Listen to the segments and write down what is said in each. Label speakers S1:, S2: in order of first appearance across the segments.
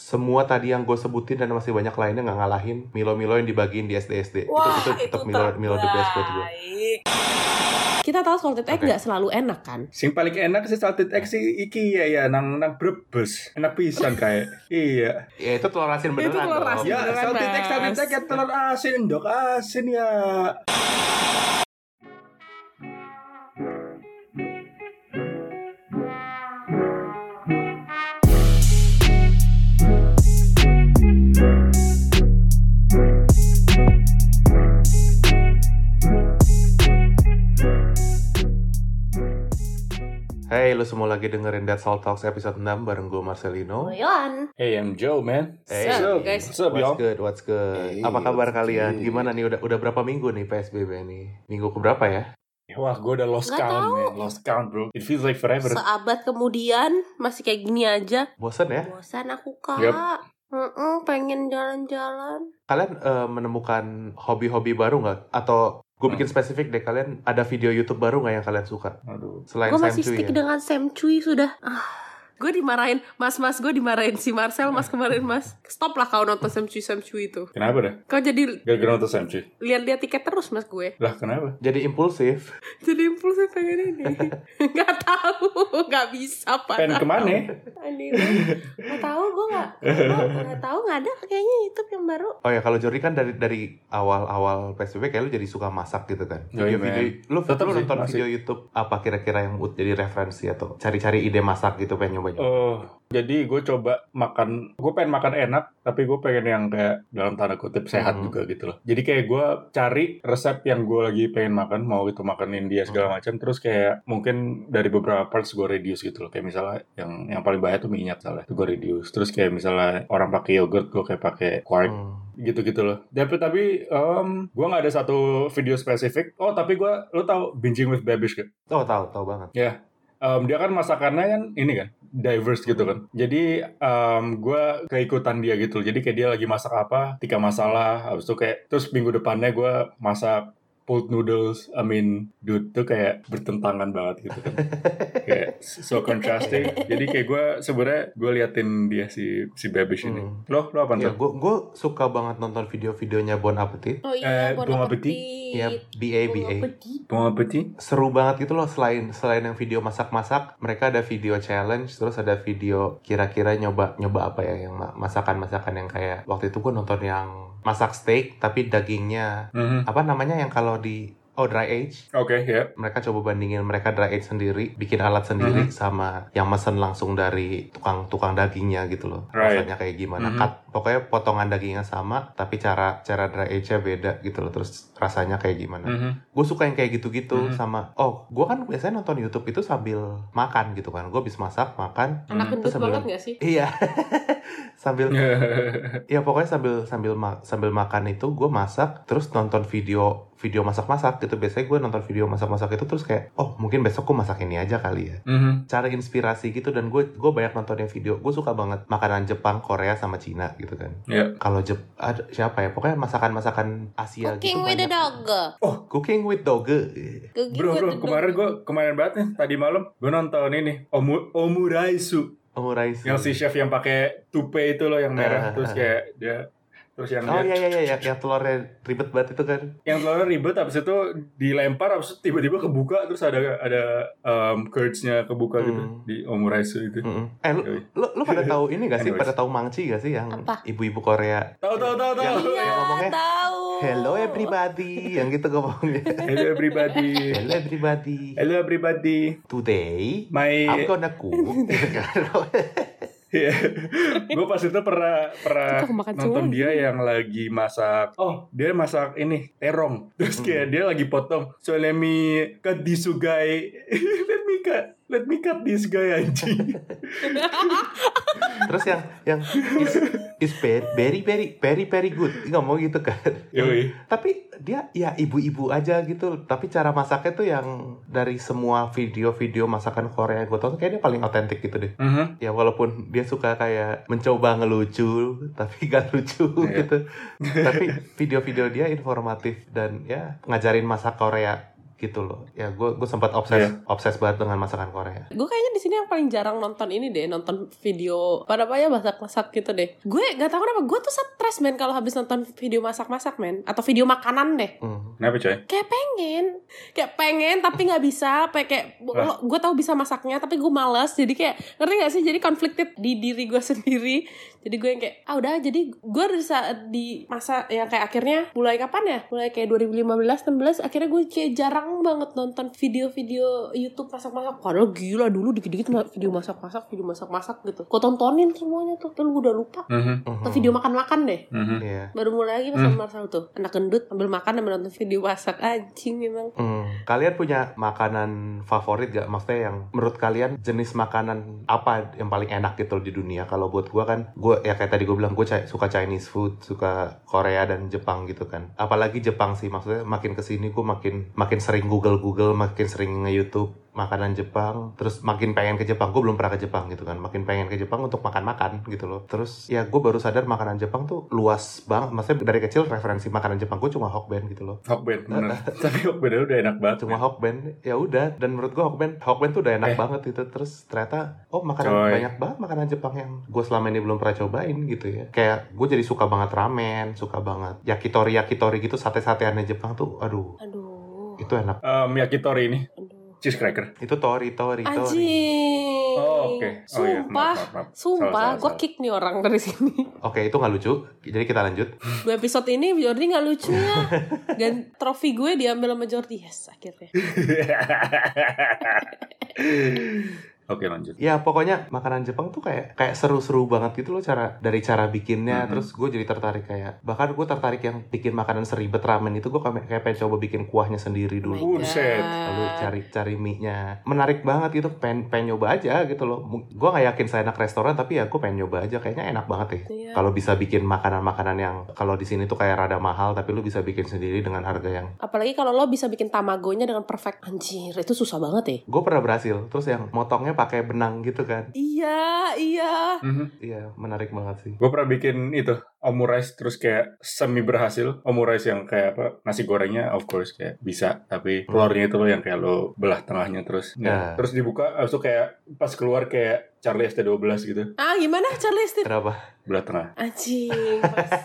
S1: semua tadi yang gue sebutin dan masih banyak lainnya nggak ngalahin Milo-Milo yang dibagiin di SD-SD.
S2: Wah,
S1: itu, itu tetap Milo, Milo the best buat gue.
S2: terbaik.
S3: Kita tahu salted egg
S1: Oke.
S3: nggak selalu enak kan?
S4: Sing paling enak sih salted egg sih iki ya ya nang nang brebes. Enak pisan kayak. iya.
S1: Ya itu telur asin beneran.
S3: telur
S1: dong.
S3: asin.
S4: Ya
S3: Beneran,
S4: salted egg
S3: Mas.
S4: salted egg ya telur asin endok asin ya.
S1: Hey, lu semua lagi dengerin Dead Soul Talks episode 6 bareng gue
S3: Oh,
S1: Marcelino.
S3: Boyan.
S4: Hey I'm Joe man.
S1: Hey.
S3: Sup, iya. guys.
S4: What's up
S1: What's
S4: y'all?
S1: good, what's good?
S4: Hey,
S1: Apa kabar
S4: what's
S1: kalian?
S4: good?
S1: Gimana nih udah udah berapa minggu nih PSBB nih? Minggu keberapa ya?
S4: Wah gue udah lost
S3: Nggak
S4: count
S3: tahu.
S4: man. Lost count bro. It feels like
S1: Eh,
S4: forever.
S3: Seabad kemudian masih kayak gini aja.
S1: Bosen ya?
S3: Bosan aku kak.
S4: Yep.
S3: Mm-mm, pengen jalan-jalan.
S1: Kalian eh, menemukan hobi-hobi baru nggak? Atau gue bikin spesifik deh, kalian ada video YouTube baru nggak yang kalian suka?
S4: Aduh.
S1: Selain
S3: Gue
S1: Sam
S3: masih
S1: Cui
S3: stick
S1: ya?
S3: dengan Sam Cui sudah. Ah, gue dimarahin, mas mas gue dimarahin si
S1: Eh.
S3: Marcel mas kemarin mas. Stop lah kau nonton Sam Cui Sam Cui itu.
S4: Kenapa dah?
S3: Kau jadi
S4: Gara-gara nonton Sam Cui.
S3: lihat-lihat tiket terus mas gue.
S4: Lah kenapa?
S1: Jadi impulsif.
S3: Jadi impulsnya pengen ini. Gak tahu, gak bisa pak.
S4: Pengen kemana?
S3: Aneh banget. Nggak tahu gue nggak gue nggak tahu nggak ada kayaknya YouTube yang baru.
S1: Oh ya, kalau Jordi kan dari dari awal-awal PSBB kayak lu jadi suka masak gitu kan.
S4: Yoi,
S1: Video-video lu,
S4: Tetep
S1: lu
S4: sih,
S1: nonton
S4: masih.
S1: video YouTube apa kira-kira yang ut- jadi referensi atau cari-cari ide masak gitu pengen nyoba.
S4: Oh, jadi gue coba makan, gue pengen makan enak, tapi gue pengen yang kayak dalam tanda kutip sehat
S1: Hmm.
S4: juga gitu loh. Jadi kayak gue cari resep yang gue lagi pengen makan, mau itu makan
S1: Hmm.
S4: India segala macam, terus kayak mungkin dari beberapa parts gue reduce gitu loh. Kayak misalnya yang yang paling bahaya tuh minyak salah, itu gue reduce. Terus kayak misalnya orang pakai yogurt, gue kayak pakai quark
S1: Hmm.
S4: gitu-gitu loh. Tapi tapi em gue nggak ada satu video spesifik. Oh, tapi gue, lo tau binging with babish gak?
S1: Oh tahu tahu banget.
S4: Em, dia kan masakannya kan ini kan diverse gitu kan. Jadi gue keikutan dia gitu. Jadi kayak dia lagi masak apa, tiga masalah. Habis itu kayak terus minggu depannya gue masak pulled noodles. I mean, dude tuh kayak bertentangan banget gitu kan. kayak so contrasting. Jadi kayak gue sebenarnya gue liatin dia si si Babish ini.
S1: Hmm.
S4: Loh, lo apa
S1: Ya,
S4: tuh?
S1: gue suka banget nonton video-videonya Bon Appetit.
S3: Oh
S4: iya, Eh, Bon Bon Appetit.
S1: Ya, BA BA.
S4: Bon appetit.
S1: Seru banget gitu loh selain selain yang video masak-masak, mereka ada video challenge, terus ada video kira-kira nyoba nyoba apa ya yang ma- masakan-masakan yang kayak waktu itu gue nonton yang masak steak tapi dagingnya
S4: Mhm.
S1: apa namanya yang kalau di oh dry age
S4: Oke, ya.
S1: mereka coba bandingin mereka dry age sendiri bikin alat sendiri sama yang mesen langsung dari tukang-tukang dagingnya gitu loh
S4: Right.
S1: rasanya kayak gimana
S4: Mhm.
S1: cut pokoknya potongan dagingnya sama tapi cara cara dry age-nya beda gitu loh terus rasanya kayak gimana
S4: Mhm.
S1: gue suka yang kayak gitu-gitu
S4: Mhm.
S1: sama oh gue kan biasanya nonton YouTube itu sambil makan gitu kan gue habis masak makan
S3: Anak
S4: Mhm.
S3: gendut
S1: Terus sebelum-
S3: banget gak sih?
S1: iya sambil ya pokoknya sambil sambil ma- sambil makan itu gue masak terus nonton video video masak-masak gitu biasanya gue nonton video masak-masak itu terus kayak oh mungkin besok gue masak ini aja kali ya
S4: Mhm.
S1: cari inspirasi gitu dan gue gue banyak nonton yang video gue suka banget makanan Jepang Korea sama Cina gitu kan
S4: Iya.
S1: kalau Jep ada- siapa ya pokoknya masakan-masakan Asia gitu banyak.
S4: Oh,
S1: cooking with eh. doge
S4: Bro,
S3: Iya,
S4: bro, kemarin gue kemarin banget nih tadi malam gue nonton ini Omu, Omuraisu
S1: omuraisi
S4: yang si chef yang pakai tupe itu loh yang merah
S1: Ah,
S4: terus
S1: ah.
S4: kayak dia terus yang
S1: Oh iya
S4: dia,
S1: iya iya yang, yang telurnya ribet banget itu kan.
S4: yang telurnya ribet habis itu dilempar habis itu tiba-tiba kebuka terus ada ada um, curds-nya kebuka gitu
S1: Hmm.
S4: di Omuraisu itu.
S1: Mm-mm. Eh lu,
S4: Yoi.
S1: lu, lu pada tahu ini gak sih?
S4: Anyways.
S1: Pada tahu mangci gak sih yang
S3: Apa?
S1: ibu-ibu Korea?
S4: Tahu tahu tahu tahu.
S1: Yang- yang ngomongnya
S3: Iya, tahu.
S1: Hello everybody, yang gitu ngomongnya.
S4: Hello everybody.
S1: Hello everybody,
S4: Hello everybody.
S1: today I'm
S4: My
S1: gonna cook.
S4: gue Iya. pas itu pernah pernah
S3: Tukang makan
S4: nonton
S3: cuan.
S4: dia yang lagi masak oh Hmm. dia masak ini terong terus kayak dia lagi potong so let me cut this guy let me cut let me cut this guy anjing
S1: Terus yang yang is, is very very very very very good Dia ngomong gitu kan.
S4: yoi
S1: Tapi dia ya ibu-ibu aja gitu. Tapi cara masaknya tuh yang dari semua video-video masakan Korea yang gue tonton kayaknya paling otentik gitu deh.
S4: Mhm.
S1: ya walaupun dia suka kayak mencoba ngelucu tapi gak lucu
S4: Iya.
S1: gitu tapi video-video dia informatif dan ya ngajarin masak Korea gitu loh ya gue gue sempat obses
S4: Iya.
S1: obses banget dengan masakan Korea
S3: Gue kayaknya di sini yang paling jarang nonton ini deh, nonton video pada apa ya masak-masak gitu deh. Gue gak tahu kenapa gue tuh stres men kalau habis nonton video masak-masak men atau video makanan deh.
S1: Hmm.
S4: Kenapa coy?
S3: Kayak pengen, kayak pengen tapi nggak bisa. Kayak, kayak
S4: Lah.
S3: gue tahu bisa masaknya tapi gue males. Jadi kayak ngerti gak sih? Jadi conflicted di diri gue sendiri. Jadi gue yang kayak ah udah jadi gue di saat di masa yang kayak akhirnya mulai kapan ya? Mulai kayak 2015 16 akhirnya gue kayak jarang banget nonton video-video YouTube masak-masak. Padahal gila dulu dikit-dikit ma- video masak-masak, video masak-masak gitu. Gue tontonin semuanya tuh. Terus gue udah lupa.
S4: Mhm,
S1: Mhm.
S3: Atau video makan-makan deh
S4: mhm.
S1: Iya.
S3: baru mulai lagi pas
S4: Hmm.
S3: sama Marcel tuh anak gendut ambil makan dan nonton video masak anjing memang
S1: Hmm. Kalian punya makanan favorit gak? Maksudnya yang menurut kalian jenis makanan apa yang paling enak gitu di dunia? Kalau buat gua kan, gue ya kayak tadi gue bilang gue suka Chinese food, suka Korea dan Jepang gitu kan. Apalagi Jepang sih, maksudnya makin kesini gue makin makin sering Google Google, makin sering nge YouTube makanan Jepang terus makin pengen ke Jepang gue belum pernah ke Jepang gitu kan makin pengen ke Jepang untuk makan-makan gitu loh terus ya gue baru sadar makanan Jepang tuh luas banget maksudnya dari kecil referensi makanan Jepang gue cuma Hokben gitu loh
S4: Hokben bener. Tapi Hokben udah enak banget.
S1: cuma Hokben ya udah dan menurut gua Hokben Hokben tuh udah enak
S4: Eh.
S1: banget gitu terus ternyata oh makanan
S4: Coy.
S1: banyak banget makanan Jepang yang gue selama ini belum pernah cobain gitu ya kayak gue jadi suka banget ramen suka banget yakitori yakitori gitu sate sateannya Jepang tuh aduh
S3: aduh
S1: itu enak
S4: Em, Um, yakitori ini
S3: aduh
S4: cheese cracker.
S1: itu tori tori tori
S3: anjing
S4: Oh, oke. Oh
S3: sumpah
S4: iya, maaf, maaf, maaf.
S3: sumpah
S4: Salah, salah,
S3: gue
S4: salah.
S3: kick nih orang dari sini
S1: oke itu nggak lucu jadi kita lanjut
S3: dua episode ini Jordi nggak lucu ya dan trofi gue diambil sama Jordi yes akhirnya
S4: Oke lanjut.
S1: ya pokoknya makanan Jepang tuh kayak kayak seru-seru banget gitu loh cara dari cara bikinnya
S4: Mhm.
S1: terus gue jadi tertarik kayak bahkan gue tertarik yang bikin makanan seribet ramen itu gue kayak kayak pengen coba bikin kuahnya sendiri
S3: Oh my
S1: dulu
S3: God.
S4: Buset.
S1: lalu cari cari mie-nya menarik banget gitu pengen pengen nyoba aja gitu loh Mu- gua nggak yakin saya enak restoran tapi ya gue pengen nyoba aja kayaknya enak banget ya
S3: Iya.
S1: kalau bisa bikin makanan-makanan yang kalau di sini tuh kayak rada mahal tapi lu bisa bikin sendiri dengan harga yang
S3: apalagi kalau lo bisa bikin tamagonya dengan perfect anjir itu susah banget ya
S1: gue pernah berhasil terus yang motongnya pakai benang gitu kan
S3: iya iya
S4: Mhm.
S1: iya menarik banget sih
S4: Gue pernah bikin itu omurice terus kayak semi berhasil omurice yang kayak apa nasi gorengnya of course kayak bisa tapi telurnya itu loh yang kayak lo belah tengahnya terus
S1: Ya.
S4: Nah, terus dibuka abis itu kayak pas keluar kayak Charlie ST12 gitu
S3: ah gimana Charlie Steve?
S1: kenapa
S4: belah tengah
S3: Anjing,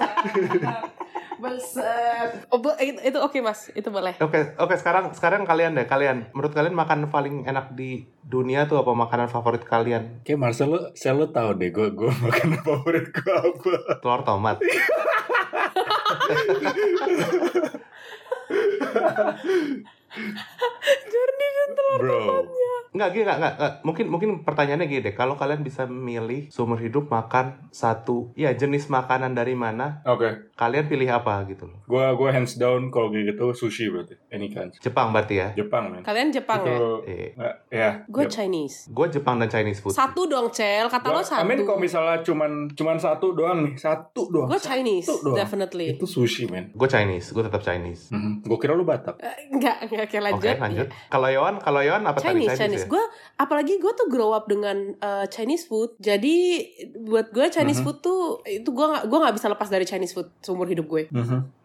S3: Belset. Oh, be- itu, itu oke mas, itu boleh.
S1: oke oke sekarang sekarang kalian deh kalian menurut kalian makanan paling enak di dunia tuh apa makanan favorit kalian
S4: Kayak Marcel lo, Sel lo tau deh gue gue makan favorit gue apa.
S1: telur tomat
S3: Jordi dan
S4: Bro,
S1: Nggak, gini, nggak, nggak, nggak. Mungkin, mungkin pertanyaannya gini deh. Kalau kalian bisa milih seumur hidup makan satu, ya jenis makanan dari mana,
S4: oke,
S1: kalian pilih apa gitu loh.
S4: gue gue hands down kalau kayak gitu sushi berarti, any kind.
S1: Jepang berarti ya?
S4: Jepang men.
S3: Kalian Jepang ya?
S4: Itu,
S1: Eh,
S4: eh, ya.
S3: Gue
S4: Jep-
S3: Chinese.
S1: gue Jepang dan Chinese food.
S3: Satu dong Cel, kata
S4: Gua-
S3: lo satu.
S4: I mean, kalau misalnya cuman cuman satu doang nih, satu doang.
S3: Gue Chinese,
S4: Satu doang.
S3: definitely.
S4: Itu sushi men.
S1: Gue Chinese, gue tetap Chinese.
S4: Gue kira lu Batak.
S3: Eh, Enggak, enggak, oke
S1: Oke,
S3: lanjut. iya.
S1: lanjut. Kalau Yohan, kalau Yohan apa
S3: Chinese,
S1: tadi?
S3: Chinese.
S1: ya?
S3: Gue, apalagi gue tuh grow up dengan eh, Chinese food. Jadi buat gue Chinese
S4: Mhm.
S3: food tuh itu gue nggak gue nggak bisa lepas dari Chinese food seumur hidup gue.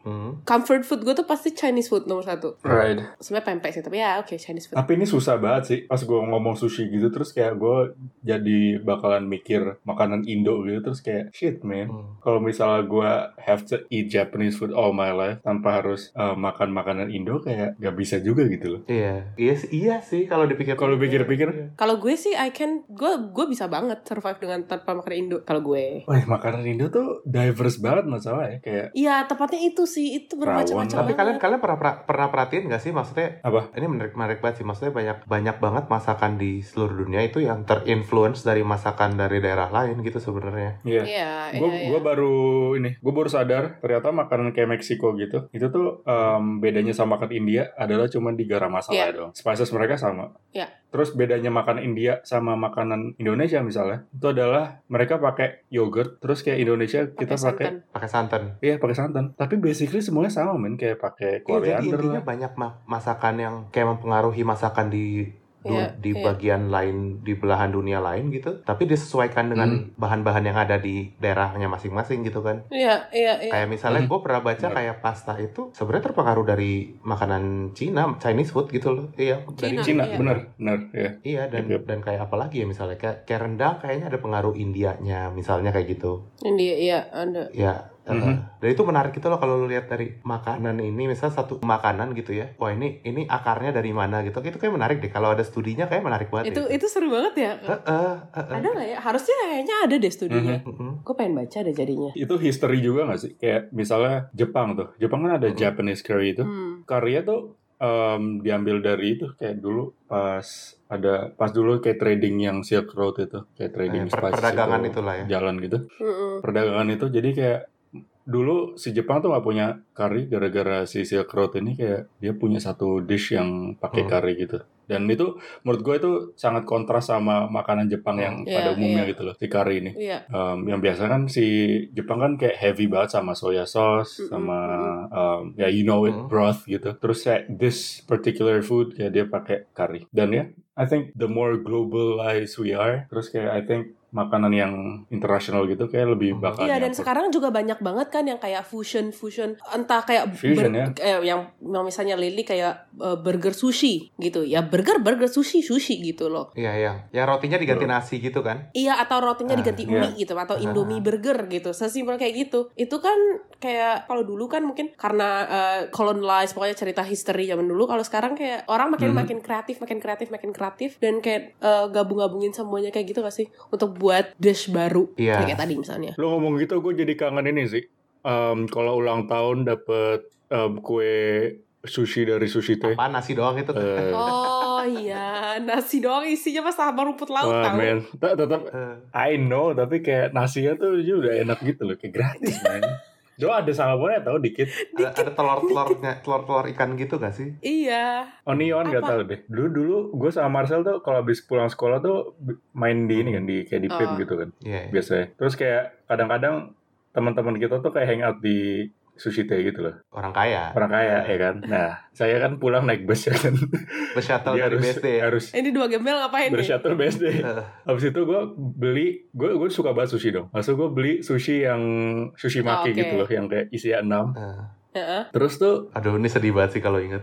S1: Hmm.
S3: Comfort food gue tuh pasti Chinese food nomor satu.
S4: Right.
S3: Sebenarnya pempek sih, tapi ya oke Chinese food.
S4: Tapi ini susah banget sih. Pas gue ngomong sushi gitu, terus kayak gue jadi bakalan mikir makanan Indo gitu, terus kayak shit man.
S1: Hmm.
S4: kalau misalnya gue have to eat Japanese food all my life tanpa harus uh, makan makanan Indo kayak gak bisa juga gitu loh.
S1: Iya, iya, sih- iya sih kalau dipikir.
S4: Kalau pikir-pikir.
S1: Iya.
S3: Kalau gue sih I can gue gue bisa banget survive dengan tanpa makan Indo kalau gue.
S4: Wah, makanan Indo tuh diverse banget masalah ya kayak
S3: Iya, tepatnya itu sih itu bermacam-macam.
S4: Rawon.
S1: Tapi
S3: banget.
S1: kalian kalian pernah pra- pernah perhatiin gak sih maksudnya
S4: Apa?
S1: Ini menarik menarik banget sih maksudnya banyak banyak banget masakan di seluruh dunia itu yang terinfluence dari masakan dari daerah lain gitu sebenarnya.
S4: Iya.
S3: Iya,
S4: Gue
S3: iya.
S4: gue baru ini, gue baru sadar ternyata makanan kayak Meksiko gitu, itu tuh um, bedanya sama makan India adalah cuma di garam masala
S3: Iya.
S4: doang. Spices mereka sama.
S3: Iya.
S4: Terus bedanya makanan India sama makanan Indonesia misalnya, itu adalah mereka pakai yogurt, terus kayak Indonesia kita pakai
S3: santan.
S1: Pakai santan.
S4: Iya pakai santan. Tapi basically semuanya sama men kayak
S1: Iya, jadi
S4: pakai koriander
S1: intinya
S4: lah.
S1: banyak ma- masakan yang kayak mempengaruhi masakan di du-
S3: Iya,
S1: di
S3: iya.
S1: bagian lain di belahan dunia lain gitu tapi disesuaikan
S4: Hmm.
S1: dengan bahan-bahan yang ada di daerahnya masing-masing gitu kan
S3: Iya, iya, iya.
S1: Kayak misalnya
S4: Hmm.
S1: gue pernah baca
S4: Benar.
S1: kayak pasta itu sebenarnya terpengaruh dari makanan Cina, Chinese food gitu loh. Iya, dari
S3: Cina.
S4: Cina
S3: Iya.
S4: bener bener ya
S1: Iya dan
S4: Yep, yep.
S1: dan kayak apa lagi ya misalnya kayak, kayak rendang kayaknya ada pengaruh Indianya misalnya kayak gitu.
S3: India, iya, ada.
S1: Ya. eh,
S4: Mhm.
S1: Dan itu menarik itu loh kalau lu lihat dari makanan ini misalnya satu makanan gitu ya. Wah, ini ini akarnya dari mana gitu. Itu kayak menarik deh kalau ada studinya kayak menarik banget.
S3: Itu
S1: deh.
S3: itu seru banget ya.
S1: Heeh, heeh.
S3: Ada nggak ya? Harusnya kayaknya ada deh studinya.
S1: Mhm.
S3: Gue pengen baca deh jadinya.
S4: itu history juga nggak sih kayak misalnya Jepang tuh Jepang kan ada
S1: Mm.
S4: Japanese curry itu
S3: Hmm.
S4: karya tuh em, diambil dari itu kayak dulu pas ada pas dulu kayak trading yang Silk Road itu kayak
S1: Eh,
S4: trading
S1: per-
S4: spices
S1: perdagangan
S4: itu,
S1: itulah ya.
S4: jalan gitu
S3: Mm-mm.
S4: perdagangan itu jadi kayak dulu si Jepang tuh nggak punya kari gara-gara si Silk Road ini kayak dia punya satu dish yang pakai
S1: Hmm.
S4: kari gitu dan itu menurut gue itu sangat kontras sama makanan Jepang yang
S3: Iya,
S4: pada umumnya
S3: iya.
S4: gitu loh si kari ini
S3: Iya.
S4: Em, yang biasa kan si Jepang kan kayak heavy banget sama soya sauce
S3: Mm-mm,
S4: sama em, ya you know it
S1: Mm.
S4: broth gitu terus kayak this particular food ya dia pakai kari dan ya I think the more globalized we are terus kayak I think makanan yang internasional gitu kayak lebih
S1: Mm.
S4: bakal
S3: Iya dan
S4: nyangkut.
S3: sekarang juga banyak banget kan yang kayak fusion fusion entah kayak
S4: Fusion, ya.
S3: kayak yang yang misalnya Lily kayak eh, burger sushi gitu ya burger burger sushi sushi gitu loh
S1: Iya, iya. Yang rotinya diganti nasi gitu kan.
S3: Iya atau rotinya
S1: Ah,
S3: diganti
S4: iya.
S3: mie gitu atau
S1: Ah.
S3: Indomie burger gitu. Sesimpel kayak gitu. Itu kan kayak kalau dulu kan mungkin karena eh, colonized pokoknya cerita history zaman dulu kalau sekarang kayak orang makin
S4: Mhm.
S3: makin kreatif, makin kreatif, makin kreatif dan kayak eh, gabung-gabungin semuanya kayak gitu gak sih untuk buat dish baru
S1: Iya.
S3: kayak tadi misalnya.
S4: Lo ngomong gitu gue jadi kangen ini sih. Em, kalau ulang tahun dapet em, kue sushi dari sushi teh.
S1: Apa nasi doang itu. kan?
S4: Eh,
S3: Oh iya, nasi doang isinya pas sama rumput laut
S4: wah
S3: tau.
S4: men, Ta- tetap
S1: Eh,
S4: I know tapi kayak nasinya tuh juga udah enak gitu loh, kayak gratis men. Doa ada sangapunnya tau dikit.
S1: ada, ada telur-telurnya, telur-telur ikan gitu gak sih?
S3: Iya.
S4: Onion nggak
S3: Apa?
S4: tahu deh. Dulu dulu gue sama Marcel tuh kalau habis pulang sekolah tuh b- main di ini kan di kayak di
S3: Oh.
S4: pub gitu kan
S1: Iya. iya.
S4: biasanya. Terus kayak kadang-kadang teman-teman kita tuh kayak hangout di sushi teh gitu loh.
S1: Orang kaya.
S4: Orang kaya ya kan. Nah, saya kan pulang naik bus ya kan.
S1: Bershuttle dari
S4: Jadi harus,
S1: BSD ya.
S4: harus
S3: Ini dua gembel ngapain nih?
S4: bershuttle BSD.
S1: Heeh.
S4: Habis itu gue beli, gue gue suka banget sushi dong. Langsung gue beli sushi yang
S3: Oh,
S4: sushi
S3: oke.
S4: maki gitu loh, yang kayak isi 6.
S1: Heeh.
S3: Heeh.
S4: Terus tuh
S1: Aduh, ini sedih banget sih kalau inget.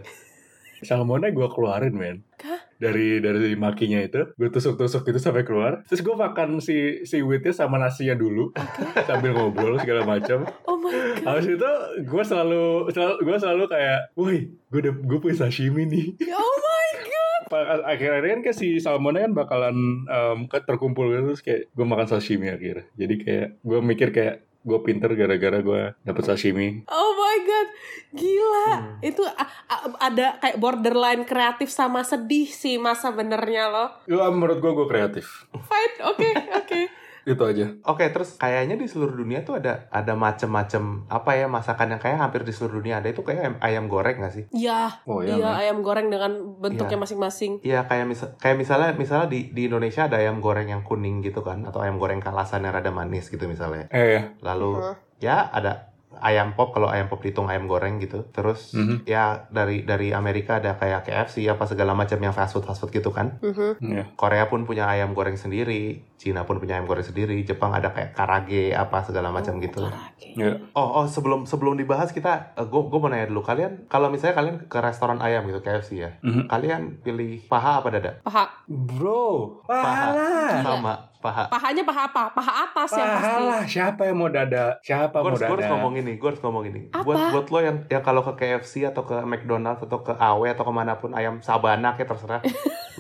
S4: salmonnya gue keluarin men.
S3: Hah?
S4: Dari dari makinya itu, gue tusuk-tusuk gitu sampai keluar. Terus gue makan si si wheatnya sama nasinya dulu, sambil ngobrol segala macam.
S3: Oh my god.
S4: Habis itu gue selalu, selalu gue selalu kayak, woi, gue udah gue punya sashimi nih.
S3: Oh my god.
S4: Pa- akhirnya kan kayak si salmonnya kan bakalan em, ke- terkumpul gitu terus kayak gue makan sashimi akhirnya jadi kayak gue mikir kayak gue pinter gara-gara gue dapet sashimi
S3: Oh my god. Gila.
S1: Hmm.
S3: itu a- a- ada kayak borderline kreatif sama sedih sih masa benernya loh
S4: ya, menurut gue gue kreatif
S3: fine oke oke
S4: itu aja
S1: Oke, terus kayaknya di seluruh dunia tuh ada ada macem-macem apa ya masakan yang kayak hampir di seluruh dunia ada itu kayak ayam, ayam goreng gak sih?
S3: ya
S4: oh
S3: iya
S4: ya man.
S3: ayam goreng dengan bentuknya masing-masing
S1: Iya kayak misa- kayak misalnya misalnya di di Indonesia ada ayam goreng yang kuning gitu kan atau ayam goreng kalasan yang rada manis gitu misalnya.
S4: eh ya.
S1: Lalu
S3: Heeh.
S1: ya ada ayam pop kalau ayam pop dihitung ayam goreng gitu. Terus
S4: Mhm.
S1: ya dari dari Amerika ada kayak KFC apa segala macam yang fast food fast food gitu kan.
S3: Mhm.
S4: Iya.
S1: Korea pun punya ayam goreng sendiri, Cina pun punya ayam goreng sendiri, Jepang ada kayak karage apa segala macam gitu.
S3: Oke.
S4: Iya.
S1: Oh, oh sebelum sebelum dibahas kita, gue mau nanya dulu kalian, kalau misalnya kalian ke restoran ayam gitu KFC ya,
S4: Mhm.
S1: kalian pilih paha apa dada?
S3: paha
S4: bro
S1: Pahala.
S4: pahala
S3: Gila.
S1: Sama paha.
S3: pahanya paha apa paha atas ya pasti
S4: pahala
S1: Iya,
S4: siapa yang mau dada siapa
S1: Gue
S4: mau
S1: harus, gua harus
S4: dada
S1: ngomong ini, gue harus ngomong ini.
S3: Apa?
S1: Buat buat lo yang yang kalau ke KFC atau ke McDonald's atau ke AW atau kemanapun ayam sabana kayak terserah,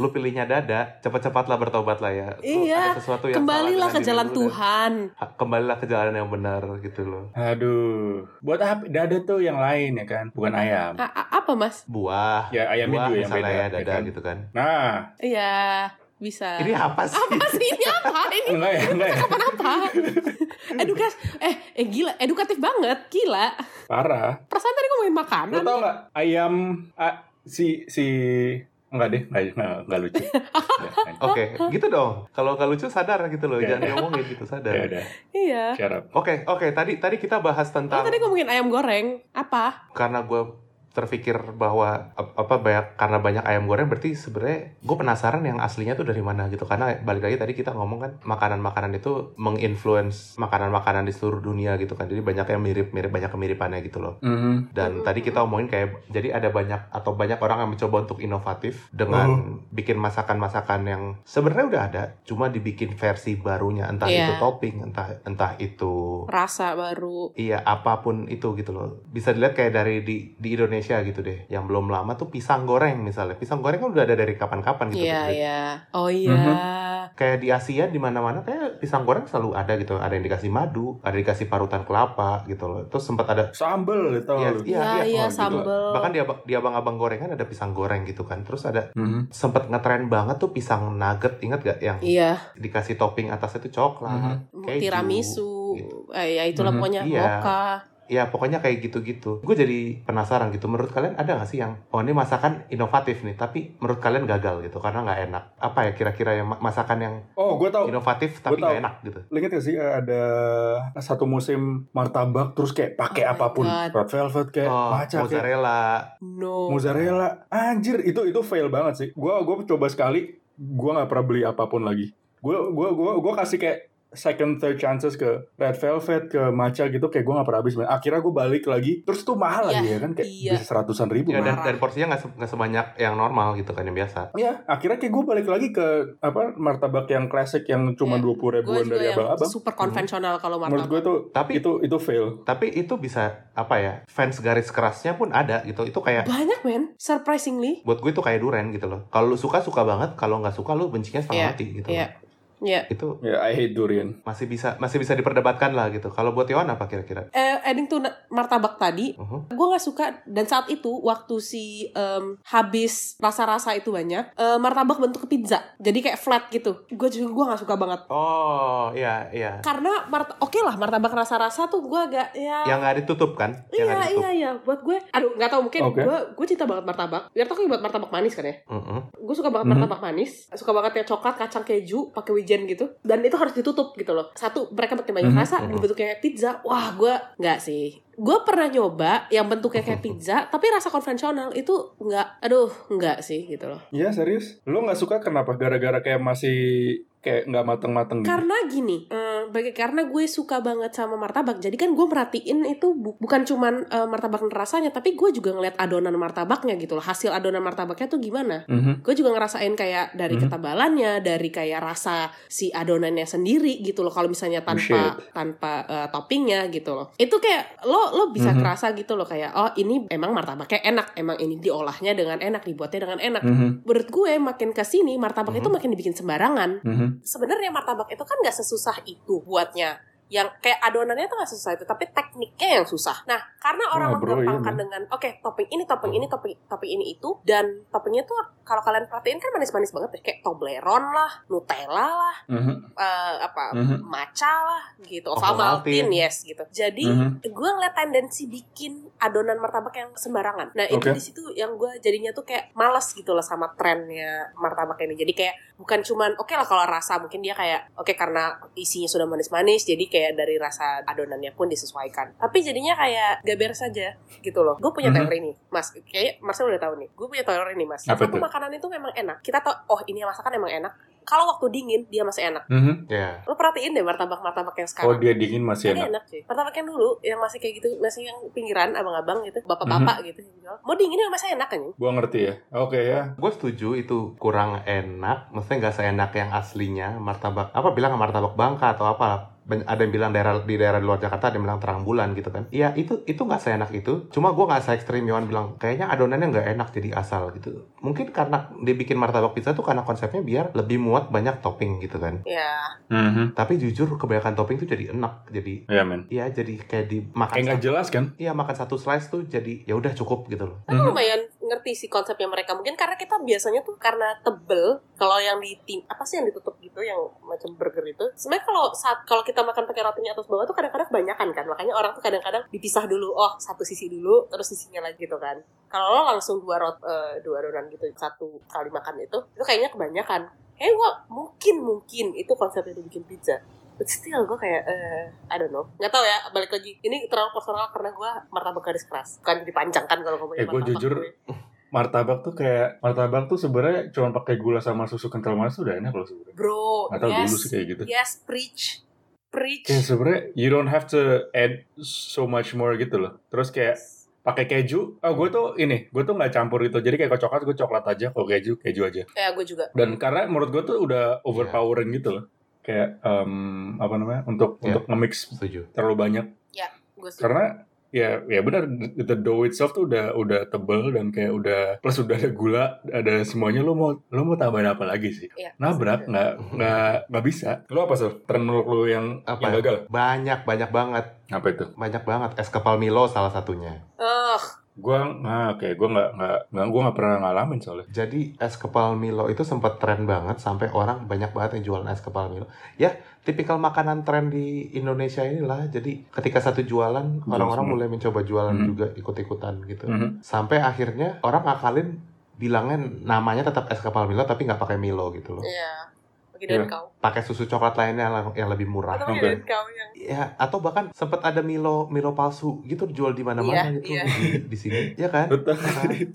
S1: lo pilihnya dada, cepat-cepatlah bertobat lah ya. Lo
S3: Iya,
S1: Ada sesuatu yang salah
S3: kembalilah
S1: dengan
S3: ke
S1: diri
S3: jalan
S1: lo dan-
S3: Tuhan
S1: Ha- kembalilah ke jalan yang benar gitu loh.
S4: aduh buat apa dada tuh yang lain ya kan bukan ayam
S3: A- a- apa mas
S1: Buah,
S4: ya ayamnya
S1: buah
S4: juga yang
S1: misalnya
S4: beda
S1: ya
S4: ya
S1: dada
S4: kan?
S1: gitu kan.
S4: nah
S3: iya bisa
S1: Ini apa sih?
S3: apa sih ini apa ini
S4: enggak ya enggak ya
S3: apa edukas eh eh gila edukatif banget gila
S4: parah
S3: perasaan tadi ngomongin
S4: Lo
S3: makanan
S4: tau gak ayam a- si si enggak deh enggak, enggak, enggak lucu. ya,
S1: Oke, gitu dong. Kalau nggak lucu sadar gitu loh,
S4: Ya,
S1: jangan
S4: ya.
S1: diomongin gitu
S4: ya, ya
S1: sadar.
S4: udah,
S3: iya
S4: shut up.
S1: Oke, oke. Tadi tadi kita bahas
S3: Oh,
S1: tentang
S3: tadi ngomongin ayam goreng apa
S1: karena gue terpikir bahwa ap- apa banyak karena banyak ayam goreng berarti sebenarnya gue penasaran yang aslinya tuh dari mana gitu karena balik lagi tadi kita ngomong kan makanan-makanan itu menginfluence makanan-makanan di seluruh dunia gitu kan jadi banyak yang mirip-mirip banyak kemiripannya gitu loh
S4: Mhm.
S1: dan tadi kita omongin kayak jadi ada banyak atau banyak orang yang mencoba untuk inovatif dengan bikin masakan-masakan yang sebenarnya udah ada cuma dibikin versi barunya entah itu
S3: Iya.
S1: topping entah entah itu
S3: rasa baru
S1: Iya, apapun itu gitu loh. Bisa dilihat kayak dari di, di Indonesia gitu deh. Yang belum lama tuh pisang goreng misalnya. Pisang goreng kan udah ada dari kapan-kapan gitu.
S3: iya
S1: Gitu.
S3: iya oh iya
S4: Mhm.
S1: Kayak di Asia di mana-mana kayak pisang goreng selalu ada gitu. Ada yang dikasih madu, ada yang dikasih parutan kelapa gitu loh. Terus sempat ada
S4: Sambel itu
S1: Iya,
S4: lu.
S1: iya,
S3: Iya,
S1: iya,
S3: iya,
S1: oh, gitu.
S3: sambel.
S1: Bahkan di, abang- di abang-abang gorengan ada pisang goreng gitu kan. Terus ada
S4: Mhm.
S1: sempat ngetren banget tuh pisang nugget, ingat gak yang
S3: iya
S1: dikasih topping atasnya tuh
S4: Mm-hmm.
S1: coklat. Keju,
S3: tiramisu
S1: gitu.
S3: eh, ya itulah
S4: Mhm,
S3: pokoknya
S1: iya.
S3: mocha
S1: Ya pokoknya kayak gitu-gitu. Gue jadi penasaran gitu. Menurut kalian ada nggak sih yang oh ini masakan inovatif nih, tapi menurut kalian gagal gitu karena nggak enak. Apa ya kira-kira yang ma- masakan yang
S4: Oh, gue tau.
S1: inovatif tapi
S4: Gua tahu.
S1: nggak enak gitu?
S4: Lo Ingat gak sih eh, ada satu musim martabak terus kayak pakai
S3: Oh my
S4: apapun
S3: God.
S4: red velvet kayak
S1: Oh,
S4: maca kayak
S1: mozzarella.
S3: no
S4: mozzarella anjir itu itu fail banget sih gue gua coba sekali gue nggak pernah beli apapun lagi gue gua gua gua kasih kayak second third chances ke red velvet ke matcha gitu kayak gue nggak pernah habis akhirnya gue balik lagi terus tuh mahal
S3: Iya,
S4: lagi ya kan kayak
S3: iya.
S4: bisa seratusan ribu
S1: Ya,
S4: kan.
S1: dan,
S3: Marah.
S1: dan porsinya nggak se- nggak sebanyak yang normal gitu kan yang biasa.
S4: Iya, akhirnya kayak gue balik lagi ke apa martabak yang klasik yang cuma
S3: Iya,
S4: dua puluh
S3: gue
S4: ribuan
S3: juga
S4: dari
S3: yang
S4: abang-abang. Mhm.
S3: super konvensional kalau
S4: Menurut
S3: martabak
S4: gue tuh
S1: Tapi
S4: itu itu fail.
S1: tapi itu bisa apa ya fans garis kerasnya pun ada gitu. Itu kayak
S3: banyak men surprisingly
S1: buat gue itu kayak duren gitu loh. Kalau lu suka suka banget, kalau nggak suka lu bencinya setengah
S3: Iya,
S1: mati gitu.
S3: iya.
S1: loh.
S3: ya
S1: Itu
S4: Ya, I hate durian.
S1: masih bisa masih bisa diperdebatkan lah gitu. Kalau buat Yohan apa kira-kira?
S3: eh adding to na- martabak tadi
S1: Mhm.
S3: gue nggak suka dan saat itu waktu si em, habis rasa-rasa itu banyak eh, martabak bentuk pizza jadi kayak flat gitu gue juga gue nggak suka banget
S1: Oh iya iya.
S3: karena mart oke lah martabak rasa-rasa tuh gue agak ya
S1: yang nggak ditutup kan yang
S4: Ya,
S3: Iya
S1: nggak ditutup
S3: iya iya buat gue aduh nggak tahu mungkin
S4: Oke.
S3: gue gue cinta banget martabak biar tau kan buat martabak manis kan ya
S1: Mm-mm.
S3: gue suka banget
S4: Mhm.
S3: martabak manis suka banget yang coklat kacang keju pakai wijen gitu dan itu harus ditutup gitu loh satu mereka pakai banyak
S4: Mhm,
S3: rasa
S1: mhm.
S3: dibentuknya kayak pizza wah gue nggak sih gue pernah nyoba yang bentuknya kayak pizza tapi rasa konvensional itu nggak aduh nggak sih gitu loh
S4: Iya, serius. Lo nggak suka kenapa? Gara-gara kayak masih kayak nggak mateng-mateng gitu.
S3: karena gini eh, bagi karena gue suka banget sama martabak jadi kan gue merhatiin itu bu- bukan cuman eh, martabak rasanya tapi gue juga ngeliat adonan martabaknya gitu loh hasil adonan martabaknya tuh gimana
S4: Mhm.
S3: gue juga ngerasain kayak dari
S4: Mhm.
S3: ketebalannya dari kayak rasa si adonannya sendiri gitu loh kalau misalnya tanpa tanpa eh, toppingnya gitu loh itu kayak lo lo bisa
S4: Mhm.
S3: kerasa gitu loh kayak oh ini emang martabaknya enak emang ini diolahnya dengan enak dibuatnya dengan enak
S4: Mhm.
S3: menurut gue makin kesini martabak
S1: Mhm.
S3: itu makin dibikin sembarangan
S4: Mhm.
S3: sebenarnya martabak itu kan nggak sesusah itu buatnya yang kayak adonannya tuh nggak susah itu tapi tekniknya yang susah nah karena orang
S4: Wah, bro, iya,
S3: menggampangkan
S4: man.
S3: dengan oke topping ini topping ini topping topping ini itu dan toppingnya tuh kalau kalian perhatiin kan manis-manis banget deh kayak Toblerone lah Nutella lah
S4: Mhm.
S3: eh, apa
S4: Mhm.
S3: matcha lah gitu
S1: Ovomaltine.
S3: Ovomaltine yes gitu jadi
S4: Mhm.
S3: gue ngeliat tendensi bikin adonan martabak yang sembarangan. Nah itu
S4: Oke.
S3: di situ yang gue jadinya tuh kayak malas gitu loh sama trennya martabak ini. Jadi kayak bukan cuman oke lah kalau rasa mungkin dia kayak oke karena isinya sudah manis-manis jadi kayak dari rasa adonannya pun disesuaikan. Tapi jadinya kayak gak beres aja gitu loh. Gue punya
S4: Mhm.
S3: teori nih, Mas. Kayak Mas udah tahu nih. Gue punya teori nih, Mas.
S4: Apa
S3: Satu
S4: tuh?
S3: makanan itu memang enak. Kita tau oh ini masakan emang enak. Kalau waktu dingin dia masih enak.
S4: Mhm.
S1: ya
S3: Lo perhatiin deh martabak-martabak yang sekarang.
S4: Oh, dia dingin masih
S3: Tapi
S4: enak.
S3: enak sih. Martabak yang dulu yang masih kayak gitu, masih yang pinggiran abang-abang gitu,
S4: Mhm.
S3: bapak-bapak gitu yang jual. Mau dinginnya masih enak kan?
S4: Gua ngerti ya. Oke ya.
S1: gue setuju itu kurang enak maksudnya nggak seenak yang aslinya martabak apa bilang martabak Bangka atau apa Ben- ada yang bilang daerah di daerah di luar Jakarta ada yang bilang terang bulan gitu kan Iya itu itu nggak seenak itu cuma gue nggak se ekstrim Yohan bilang kayaknya adonannya nggak enak jadi asal gitu mungkin karena dibikin martabak pizza tuh karena konsepnya biar lebih muat banyak topping gitu kan
S3: Ya,
S4: Mhm.
S1: tapi jujur kebanyakan topping tuh jadi enak jadi
S4: Iya, men.
S1: Iya jadi kayak
S4: Kayak
S1: dimakan
S4: nggak jelas kan?
S1: Iya makan satu slice tuh jadi ya udah cukup gitu loh.
S3: tapi
S4: Mhm.
S3: lumayan ngerti sih konsepnya mereka. Mungkin karena kita biasanya tuh karena tebel, kalau yang di tim apa sih yang ditutup gitu, yang macam burger itu. Sebenarnya kalau saat kalau kita makan pakai rotinya atas bawah tuh kadang-kadang kebanyakan kan. Makanya orang tuh kadang-kadang dipisah dulu. Oh, satu sisi dulu, terus sisinya lagi gitu kan. Kalau lo langsung dua rot eh, dua adonan gitu satu Eh, kali makan itu, itu kayaknya kebanyakan. Kayaknya gua mungkin mungkin itu konsepnya dibikin pizza. But still gue kayak eh I don't know. Nggak tahu ya balik lagi. Ini terlalu personal karena gue martabak garis keras. Bukan dipancangkan kalau ngomongin
S4: Eh, gua
S3: martabak
S4: jujur,
S3: gue.
S4: martabak tuh kayak martabak tuh sebenarnya cuma pakai gula sama susu kental manis tuh udah enak loh sebenarnya.
S3: Bro,
S4: Nggak tahu
S3: yes.
S4: dulu sih kayak gitu.
S3: Yes, preach. Preach.
S4: Kayak sebenarnya you don't have to add so much more gitu loh. Terus kayak pakai keju, oh gue tuh ini, gue tuh nggak campur gitu. Jadi kayak kalau coklat gue coklat aja, kalau keju keju aja.
S3: Kayak gue Eh, juga.
S4: Dan karena menurut gue tuh udah overpowering gitu loh. Kayak em, apa namanya
S1: Iya.
S4: untuk untuk nge-mix
S1: setuju
S4: terlalu banyak.
S3: Gue sih.
S4: Karena ya ya benar the dough itself tuh udah udah tebel dan kayak udah plus udah ada gula ada semuanya lo mau lo mau tambahin apa lagi sih
S3: Iya.
S4: nabrak nggak nggak nggak bisa lo apa sih tren menurut lo yang
S1: Apa
S4: yang
S1: ya?
S4: gagal
S1: banyak banyak banget
S4: apa itu
S1: banyak banget es kepal Milo salah satunya
S3: Ugh,
S4: Gua nah oke gua nggak nggak nggak gua nggak pernah ngalamin soalnya
S1: jadi es kepal Milo itu sempat tren banget sampai orang banyak banget yang jualan es kepal Milo ya tipikal makanan tren di Indonesia inilah jadi ketika satu jualan
S4: Jual
S1: orang-orang
S4: semua.
S1: mulai mencoba jualan
S4: Hmm.
S1: juga ikut-ikutan gitu
S4: Mhm.
S1: sampai akhirnya orang akalin bilangnya namanya tetap es kepal Milo tapi nggak pakai Milo gitu loh
S3: iya. Lagi dari
S4: Iya.
S3: kau.
S1: pakai susu coklat lainnya yang- yang lebih murah
S3: Atau lagi
S4: Oke.
S3: dari kau yang
S1: ya atau bahkan sempat ada Milo Milo palsu gitu dijual di mana-mana
S3: Iya,
S1: gitu
S3: iya.
S1: di, di sini ya kan
S4: betul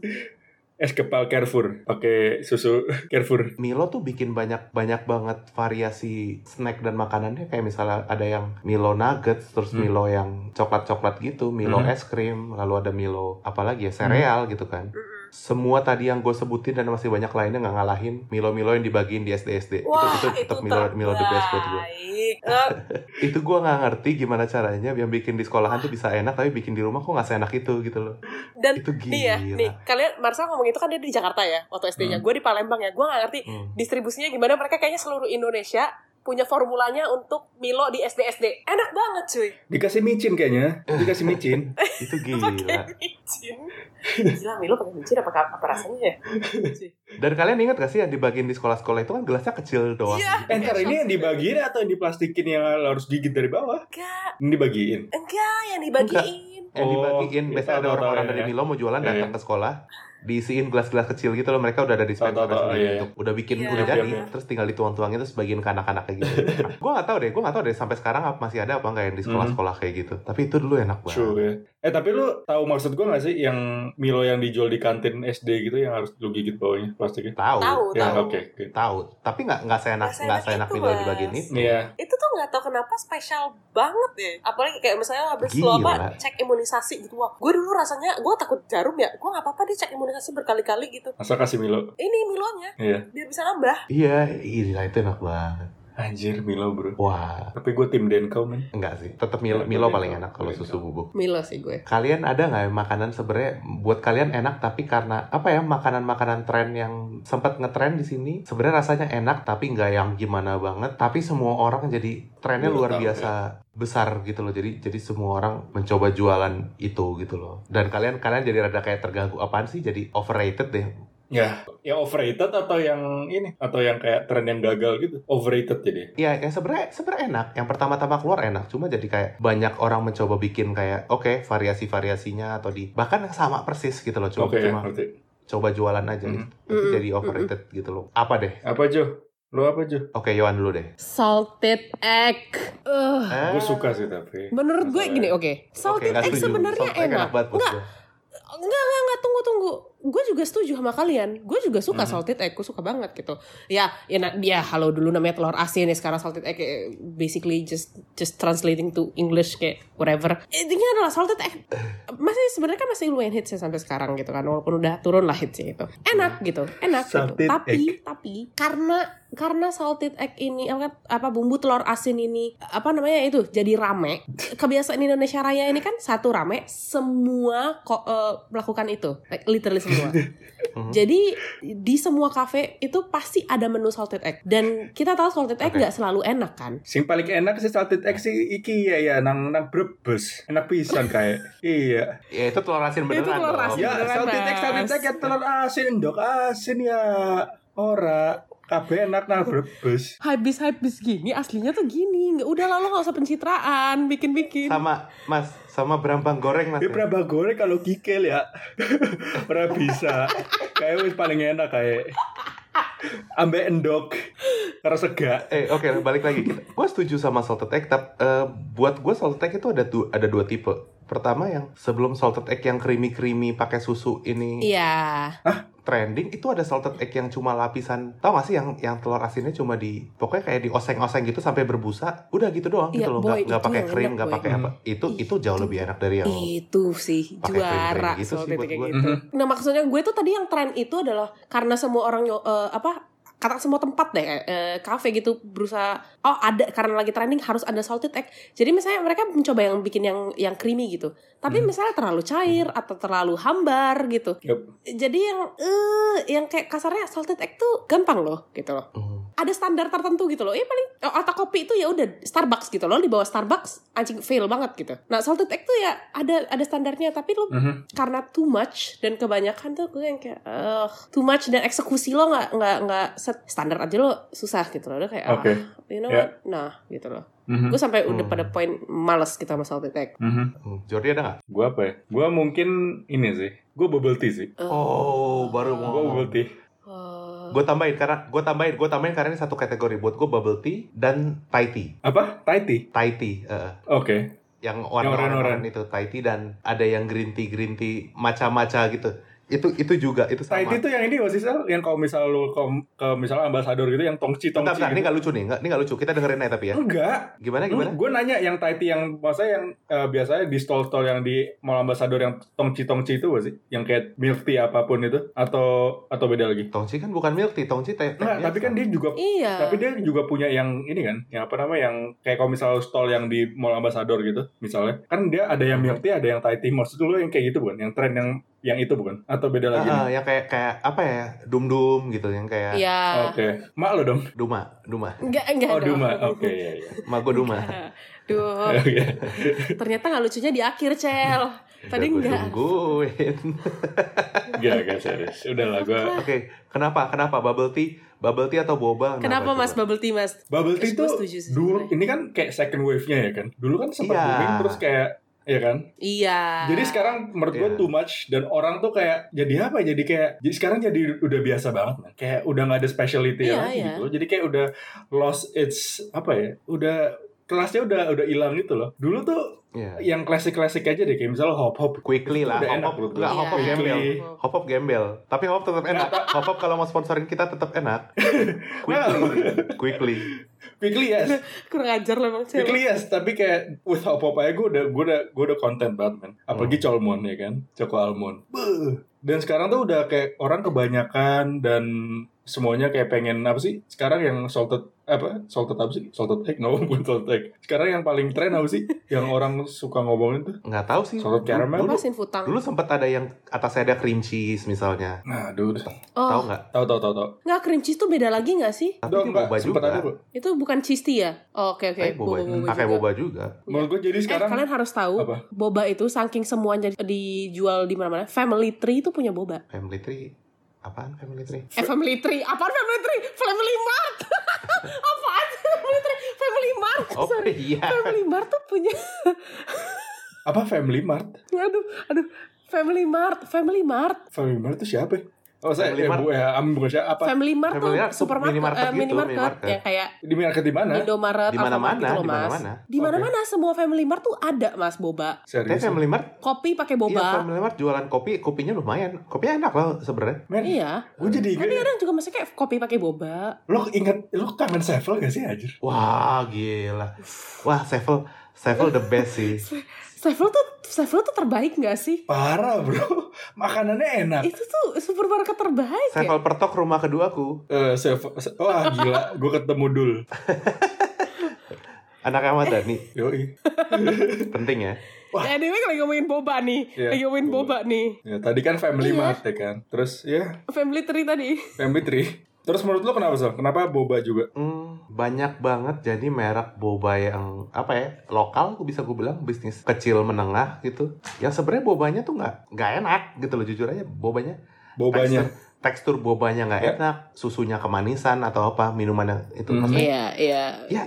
S4: es kepal Carrefour pakai susu Carrefour
S1: Milo tuh bikin banyak banyak banget variasi snack dan makanannya kayak misalnya ada yang Milo nuggets terus
S4: Hmm.
S1: Milo yang coklat coklat gitu Milo
S4: Hmm.
S1: es krim lalu ada Milo apalagi ya sereal gitu kan
S3: Mm-mm.
S1: semua tadi yang gue sebutin dan masih banyak lainnya nggak ngalahin Milo Milo yang dibagiin di SD SD
S3: Wah,
S1: itu
S3: itu,
S1: tetap Milo Milo the best buat gue
S3: terbaik. Eh,
S1: itu gue nggak ngerti gimana caranya yang bikin di sekolahan tuh bisa enak tapi bikin di rumah kok nggak seenak itu gitu loh
S3: dan
S1: itu gila
S3: Nih ya, nih kalian Marcel ngomong itu kan dia di Jakarta ya waktu SD-nya.
S4: Hmm.
S3: Gue di Palembang ya. Gue gak ngerti
S1: Hmm.
S3: distribusinya gimana. Mereka kayaknya seluruh Indonesia punya formulanya untuk Milo di SD SD. Enak banget cuy.
S4: dikasih micin kayaknya
S1: Eh.
S4: dikasih micin Eh,
S1: itu
S3: Pakai
S1: gila
S3: micin. Gila Milo pakai micin apa apa rasanya ya? Cuy.
S1: dan kalian ingat gak sih yang dibagiin di sekolah-sekolah itu kan gelasnya kecil doang
S3: Iya.
S4: eh, ntar ini yang dibagiin atau yang diplastikin yang harus gigit dari bawah
S3: Enggak,
S4: ini dibagiin
S3: enggak yang dibagiin.
S1: yang
S4: Oh,
S1: dibagiin
S4: iya,
S1: biasanya
S4: tahu,
S1: ada
S4: tahu,
S1: orang-orang
S4: tahu,
S1: dari
S4: iya.
S1: Milo mau jualan
S4: Iya,
S1: datang ke sekolah diisiin gelas-gelas kecil gitu loh mereka udah ada dispenser
S4: Tahu, tahu, tahu,
S1: sendiri
S4: iya,
S1: gitu. udah bikin
S3: Iya,
S1: udah
S4: iya,
S1: jadi
S4: iya.
S1: terus tinggal dituang-tuangin terus bagiin ke anak-anak kayak gitu gue nggak tahu deh gue nggak tahu deh sampai sekarang apa masih ada apa nggak yang di sekolah-sekolah kayak gitu tapi itu dulu enak banget
S4: Hmm. True ya. Eh tapi lu tahu maksud gue gak sih yang Milo yang dijual di kantin SD gitu yang harus lu gigit bawahnya plastiknya?
S1: tahu
S3: Tahu,
S4: Ya
S3: tahu.
S4: oke. oke.
S1: tahu tapi nggak nggak seenak
S3: Nggak
S1: nggak
S3: seenak
S1: seenak
S3: itu,
S1: Milo
S3: Mas.
S1: dibagiin itu
S4: Iya.
S3: Itu tuh nggak tahu kenapa spesial banget ya. Apalagi kayak misalnya habis lo apa
S1: Gila.
S3: cek imunisasi gitu. Wah, gue dulu rasanya gue takut jarum ya. Gue nggak apa-apa deh cek imunisasi berkali-kali gitu.
S4: Masa kasih Milo?
S3: Ini Milonya
S4: Iya.
S3: biar bisa nambah.
S1: iya gila itu enak banget
S4: Anjir Milo bro.
S1: wah
S4: Tapi gue tim Denko men.
S1: enggak sih tetap Milo,
S4: Enak,
S1: Milo
S4: enak,
S1: paling
S4: enak.
S1: enak kalau
S4: Enak.
S1: susu bubuk
S3: Milo sih gue.
S1: Kalian ada nggak makanan sebenarnya buat kalian enak tapi karena apa ya makanan-makanan tren yang sempat ngetren di sini sebenarnya rasanya enak tapi nggak yang gimana banget tapi semua orang jadi trennya
S4: Iya,
S1: luar
S4: tahu,
S1: biasa besar gitu loh jadi jadi semua orang mencoba jualan itu gitu loh dan kalian kalian jadi rada kayak terganggu apaan sih jadi overrated deh
S4: Ya. Yang overrated atau yang ini? Atau yang kayak tren yang gagal gitu? Overrated jadi.
S1: Iya, yang sebenarnya sebenarnya enak. Yang pertama-tama keluar enak, cuma jadi kayak banyak orang mencoba bikin kayak oke variasi-variasinya atau di bahkan yang sama persis gitu loh, cuma
S4: Oke ya,
S1: cuma
S4: ngerti.
S1: coba jualan aja
S4: Mhm.
S1: gitu. Tapi
S3: Mhm.
S1: jadi overrated gitu loh. Apa deh?
S4: Apa Jo? Lo apa Jo?
S1: Oke, Yohan dulu deh.
S3: Salted egg. Eh,
S1: Eh,
S4: Gue Ah, suka sih tapi.
S3: menurut gue
S4: Masalah.
S3: gini, oke.
S1: oke,
S3: Salted
S1: nggak
S3: egg
S1: setuju.
S3: sebenarnya
S1: Salted egg
S3: enak.
S1: banget buat
S3: Nggak,
S1: gue.
S3: Enggak, enggak, enggak, tunggu, tunggu. Gue juga setuju sama kalian. Gue juga suka
S4: Mhm.
S1: Hmm.
S3: salted egg, gue suka banget gitu. Ya, ya, na- ya halo dulu namanya telur asin ya sekarang salted egg eh, basically just just translating to English kayak whatever. Intinya adalah salted egg masih sebenarnya kan masih lumayan hits ya sampai sekarang gitu kan walaupun udah turun lah hitsnya gitu. Enak gitu, enak
S4: Salted
S3: gitu. Tapi tapi karena karena salted egg ini apa, apa bumbu telur asin ini apa namanya itu jadi rame kebiasaan Indonesia Raya ini kan satu rame semua kok eh, melakukan itu like, literally semua
S1: Mhm.
S3: jadi di semua kafe itu pasti ada menu salted egg dan kita tahu salted egg
S1: Oke.
S3: nggak selalu enak kan
S4: Sing paling enak sih salted egg sih iki ya ya nang nang brebes. Enak pisan kayak. iya.
S1: Ya itu telur asin beneran.
S3: telur
S1: dong.
S3: asin.
S4: Ya,
S3: Beneran,
S4: salted egg,
S3: Mas.
S4: salted egg, ya telur asin, dok asin ya. Ora, kabeh enak nah brebes.
S3: habis-habis gini aslinya tuh gini nggak udah lalu nggak usah pencitraan bikin-bikin
S1: Sama Mas, sama berambang goreng Mas. ya.
S4: Ini berapa goreng kalau kikel ya? Ora bisa. Kayak wis paling enak kayak. Ambe endok. Karena sega.
S1: Eh oke balik lagi kita. Gue setuju sama salted egg, tapi buat gue salted egg itu ada du- ada dua tipe. Pertama yang sebelum salted egg yang creamy creamy pakai susu ini
S3: Iya.
S1: trending itu ada salted egg yang cuma lapisan tau gak sih yang yang telur asinnya cuma di pokoknya kayak dioseng-oseng gitu sampai berbusa udah gitu doang
S3: Iya,
S1: gitu loh nggak
S3: boy,
S1: nggak
S3: itu
S1: pakai
S3: yang
S1: krim
S3: enak,
S1: nggak
S3: boy. Iya.
S1: pakai apa itu itu jauh lebih enak dari yang
S3: Itu sih
S1: Iya. Pakai
S3: juara
S1: krim-krim gitu
S3: salted
S1: sih buat
S3: egg
S1: gua.
S3: kayak gitu.
S4: Mhm,
S3: Nah maksudnya gue tuh tadi yang tren itu adalah karena semua orang nyo- eh, apa kata semua tempat deh eh, kafe gitu berusaha oh ada karena lagi trending harus ada salted egg jadi misalnya mereka mencoba yang bikin yang yang creamy gitu tapi
S1: Mhm.
S4: Hmm.
S3: misalnya terlalu cair atau terlalu hambar gitu
S4: Yup.
S3: jadi yang eh yang kayak kasarnya salted egg tuh gampang loh gitu loh
S1: Hmm.
S3: ada standar tertentu gitu loh. Ya paling oh, atau kopi itu ya udah Starbucks gitu loh, di bawah Starbucks anjing fail banget gitu. Nah, salted egg tuh ya ada ada standarnya, tapi lo
S4: Mhm.
S3: karena too much dan kebanyakan tuh gue yang kayak "Ugh, too much dan eksekusi lo nggak nggak nggak set standar aja lo susah gitu loh. Udah kayak ah,
S4: Oke.
S3: you know what?
S4: Ya.
S3: Nah, gitu loh.
S4: Mhm.
S3: Gue sampai udah
S1: Hmm.
S3: pada poin males gitu sama salted egg.
S4: Mhm.
S1: Hmm. Jordi ada nggak?
S4: Gue apa ya? Gue mungkin ini sih. Gue bubble tea sih.
S1: Oh baru
S4: Gue
S1: mau.
S4: bubble tea.
S3: Oh.
S1: Gue tambahin karena gue tambahin gue tambahin karena ini satu kategori buat gue bubble tea dan Thai tea.
S4: Apa? Thai tea?
S1: Thai tea. eh,
S4: Oke.
S1: yang orang-orang
S4: oranye-oranye.
S1: itu Thai tea dan ada yang green tea green tea macam-macam gitu. Itu itu juga itu
S4: Thai
S1: sama.
S4: tea tuh yang ini gak sih Sel? Yang kalau misal lu ke, ke misalnya ambasador gitu yang tongci tongci.
S1: Bentar, bentar, ini
S4: gitu. Hmm.
S1: nggak lucu nih, nggak- ini nggak lucu. Kita dengerin aja tapi ya.
S4: Enggak.
S1: Gimana gimana?
S4: Gue nanya yang Thai tea yang masa yang eh, biasanya di stall-stall yang di Mall Ambassador yang tongci-tongci itu gak sih? Yang kayak milk tea apapun itu atau atau beda lagi?
S1: Tongci kan bukan milk tea, tongci teh. teh
S4: Enggak,
S1: biasa.
S4: tapi kan dia juga
S3: Iya.
S4: tapi dia juga punya yang ini kan, yang apa namanya yang kayak kalau misalnya stall yang di Mall Ambassador gitu, misalnya. Kan dia ada yang milk tea, ada yang Thai tea. Maksud lu yang kayak gitu bukan? Yang tren yang yang itu bukan? Atau beda lagi?
S1: Ah, ah,
S4: nih?
S1: yang kayak kayak apa ya? Dum-dum gitu yang kayak
S3: Iya.
S4: Oke. Mak lo dong.
S1: Duma, Duma.
S3: Enggak, enggak.
S4: Oh,
S3: dong. Oh.
S4: Duma. Oke, iya iya.
S1: Ma gue Duma.
S3: Duh,
S4: Oke.
S3: ternyata nggak lucunya di akhir, Cel. Tadi
S1: Udah gua
S3: enggak.
S1: Tungguin.
S4: Gak, gak serius. Udah lah gue.
S1: Oke, kenapa? Kenapa bubble tea? Bubble tea atau boba?
S3: Kenapa
S1: coba?
S3: Mas Bubble Tea, Mas?
S4: Bubble
S3: Terus
S4: tea
S3: gua
S4: tuh
S3: setuju sih
S4: dulu
S3: sebenarnya.
S4: ini kan kayak second wave-nya ya kan. Dulu kan sempat
S1: Iya.
S4: booming terus kayak ya kan.
S3: Iya.
S4: Jadi sekarang menurut gue
S1: Iya.
S4: too much dan orang tuh kayak jadi apa? ya? Jadi kayak jadi sekarang jadi udah biasa banget. Man. Kayak udah nggak ada specialty
S3: Iya,
S4: ya lagi
S3: iya.
S4: gitu. loh. Jadi kayak udah lost its apa ya? Udah kelasnya udah udah hilang gitu loh. Dulu tuh
S1: Iya.
S4: yang klasik-klasik aja deh kayak misalnya hop hop.
S1: Quickly lah,
S4: Udah
S1: hop
S4: enak
S1: hop,
S4: menurut gua.
S1: nggak, ya, hop hop
S3: Iya.
S1: gembel,
S4: Quickly.
S1: hop hop gembel. Tapi hop tetap enak. hop hop kalau mau sponsorin kita tetap enak. Quickly, quickly.
S4: Quickly yes.
S3: kurang ajar lah Bang Cel.
S4: Quickly yes, tapi kayak with hop hop aja gue ya, udah gue udah gue udah konten banget man. Apalagi
S3: Hmm.
S4: colmon ya kan, coko almond. Beuh. Dan sekarang tuh udah kayak orang kebanyakan dan semuanya kayak pengen apa sih? Sekarang yang salted apa? Salted apa sih? Salted egg? No, bukan salted egg. Sekarang yang paling tren apa sih? yang orang suka ngomongin tuh.
S1: Nggak tahu sih.
S4: Salted caramel.
S1: Dulu,
S3: Apa sin futang?
S1: dulu sempat ada yang atasnya ada cream cheese misalnya.
S4: Nah, aduh. udah.
S1: Tahu
S3: Oh,
S1: nggak?
S4: Tahu tahu tahu tahu.
S3: nggak cream cheese tuh beda lagi nggak sih?
S1: Tapi
S4: Tahu
S1: ini
S4: nggak?
S1: boba
S4: Sempet
S1: juga.
S4: ada, Bu.
S3: Itu bukan cheese tea ya? Oh, Oke oke.
S1: Tapi boba, pakai
S3: juga.
S1: boba juga.
S4: Menurut gue jadi
S3: Eh,
S4: sekarang
S3: kalian harus tahu
S4: apa?
S3: boba itu saking semuanya dijual di mana-mana. Family Tree itu punya boba.
S1: Family tree. Apaan family tree?
S3: Eh, Family Tree, apaan Family Tree? Family Mart. apaan Family Tree? Family Mart.
S1: Oh
S3: Sorry.
S1: iya.
S3: Family Mart tuh punya
S4: Apa Family Mart?
S3: aduh, aduh. Family Mart, Family Mart.
S4: Family Mart itu siapa? ya? Oh, saya
S1: Family
S4: ya,
S1: Mart.
S4: bu, ya, am, bukan siapa apa?
S3: Family Mart
S1: Family Mart
S3: tuh
S1: tuh
S3: supermarket,
S1: minimarket
S3: eh,
S1: gitu,
S3: minimarket,
S1: minimarket.
S3: yang kayak
S4: Di market di mana?
S3: Indomaret,
S1: Di mana-mana,
S3: Alfamart gitu loh,
S1: di
S3: Mas.
S1: mana-mana.
S3: Di mana-mana semua Family Mart tuh ada, Mas, boba.
S1: Tapi
S4: Serius.
S1: Family Mart,
S3: Kopi pakai
S1: iya
S3: boba.
S1: Family Mart jualan kopi, kopinya lumayan. Kopinya enak loh sebenarnya.
S4: Men,
S3: Iya.
S4: gue jadi
S3: Tapi
S4: inget,
S3: kadang juga masih kayak kopi pakai boba.
S4: lo inget, lo kangen Sevel gak sih anjir?
S1: Wah gila. Wah Sevel, Sevel the best sih.
S3: Sevel tuh Sevel tuh terbaik gak sih?
S4: Parah bro, makanannya enak.
S3: Itu tuh supermarket terbaik ya.
S1: Iya. Sevel pertok rumah keduaku.
S4: Eh, Sevel, Se- wah gila, gue ketemu Dul.
S1: Anak Ahmad Dhani,
S4: Yoi.
S1: penting ya.
S4: Wah.
S3: Ya, Dewi lagi ngomongin boba nih.
S4: Iya,
S3: lagi ngomongin boba. nih.
S4: Ya, tadi kan Family
S3: Iya.
S4: Mart ya kan, terus ya
S3: Family Tree tadi.
S4: Family Tree. Terus menurut lo kenapa Sel? Kenapa boba juga?
S1: Hmm, banyak banget jadi merek boba yang apa ya lokal aku bisa gue bilang bisnis kecil menengah gitu yang sebenarnya bobanya tuh nggak nggak enak gitu loh jujur aja bobanya
S4: Bobanya.
S1: tekstur, tekstur bobanya nggak
S4: Ya.
S1: enak susunya kemanisan atau apa minuman yang itu
S4: Mhm.
S1: maksudnya
S3: Iya, iya.
S1: Ya,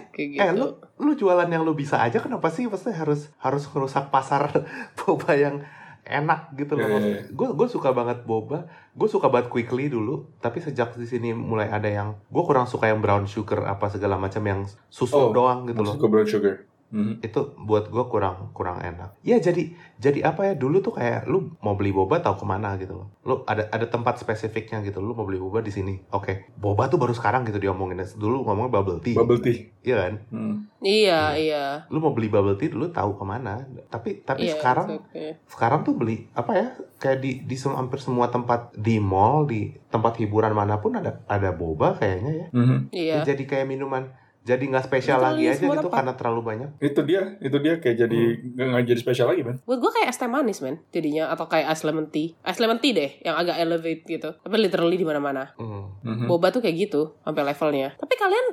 S1: eh
S3: Kayak
S1: lu lu jualan yang lu bisa aja kenapa sih pasti harus harus merusak pasar boba yang enak gitu loh.
S4: Iya, iya, iya.
S1: Gue gue suka banget boba. Gue suka banget quickly dulu. Tapi sejak di sini mulai ada yang gue kurang suka yang brown sugar apa segala macam yang susu
S4: Oh,
S1: doang gitu loh.
S4: Maksud gue brown sugar. Mhm.
S1: Itu buat gue kurang kurang enak. Ya jadi jadi apa ya dulu tuh kayak lu mau beli boba tahu kemana gitu loh. Lu ada ada tempat spesifiknya gitu. Lu mau beli boba di sini. Oke. Boba tuh baru sekarang gitu diomongin. Dulu ngomongin bubble tea.
S4: Bubble tea.
S1: Iya kan?
S4: Mhm.
S3: Iya,
S1: Hmm.
S3: iya.
S1: Lu mau beli bubble tea dulu tahu kemana. Tapi tapi
S3: Iya,
S1: sekarang
S3: it's okay.
S1: sekarang tuh beli apa ya kayak di di sem- hampir semua tempat di mall di tempat hiburan manapun ada ada boba kayaknya ya,
S4: Mhm.
S3: Iya.
S1: Ya, jadi kayak minuman jadi nggak spesial
S3: Itu
S1: lagi
S3: di
S1: aja
S3: semua
S1: gitu
S3: tempat.
S1: karena terlalu banyak
S4: Itu dia, itu dia kayak jadi nggak nggak jadi spesial lagi man.
S3: Buat gue kayak es teh manis men jadinya atau kayak es lemon tea. Es lemon tea deh yang agak elevate gitu. Tapi literally di mana-mana.
S1: Hmm.
S4: Mhm.
S3: Boba tuh kayak gitu sampai levelnya. Tapi kalian